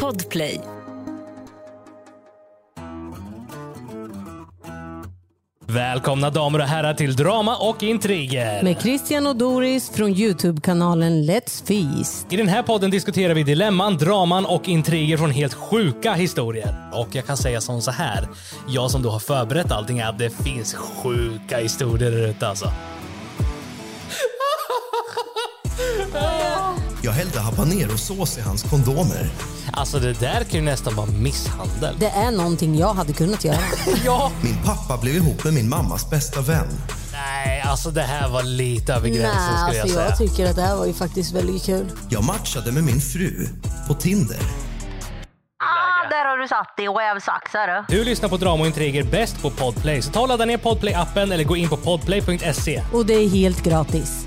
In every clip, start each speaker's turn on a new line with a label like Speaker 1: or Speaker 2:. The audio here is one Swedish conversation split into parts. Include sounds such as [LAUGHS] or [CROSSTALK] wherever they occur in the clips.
Speaker 1: Podplay.
Speaker 2: Välkomna damer och herrar till Drama och Intriger.
Speaker 3: Med Christian och Doris från Youtube-kanalen Let's Feast.
Speaker 2: I den här podden diskuterar vi dilemman, draman och intriger från helt sjuka historier. Och jag kan säga som så här, jag som då har förberett allting, att det finns sjuka historier där ute alltså.
Speaker 4: Jag hällde habanerosås i hans kondomer.
Speaker 2: Alltså det där kan ju nästan vara
Speaker 3: [LAUGHS]
Speaker 2: misshandel.
Speaker 3: Det är någonting jag hade kunnat göra.
Speaker 2: Ja!
Speaker 4: Min pappa blev ihop med min mammas bästa vän.
Speaker 2: Nej, alltså det här var lite över gränsen skulle jag
Speaker 3: alltså
Speaker 2: säga.
Speaker 3: jag tycker att det här var ju faktiskt väldigt kul.
Speaker 4: Jag matchade med min fru på Tinder.
Speaker 5: Ah, där har du satt din rävsaxare.
Speaker 2: du lyssnar på Drama och Intriger bäst på Podplay, så ta och ladda ner Podplay-appen eller gå in på podplay.se.
Speaker 3: Och det är helt gratis.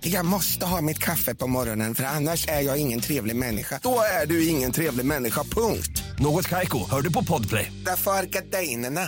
Speaker 6: Jag måste ha mitt kaffe på morgonen för annars är jag ingen trevlig människa. Då är du ingen trevlig människa, punkt.
Speaker 7: Något Kaiko, hör du på Podplay.
Speaker 6: Därför arkadeinerna.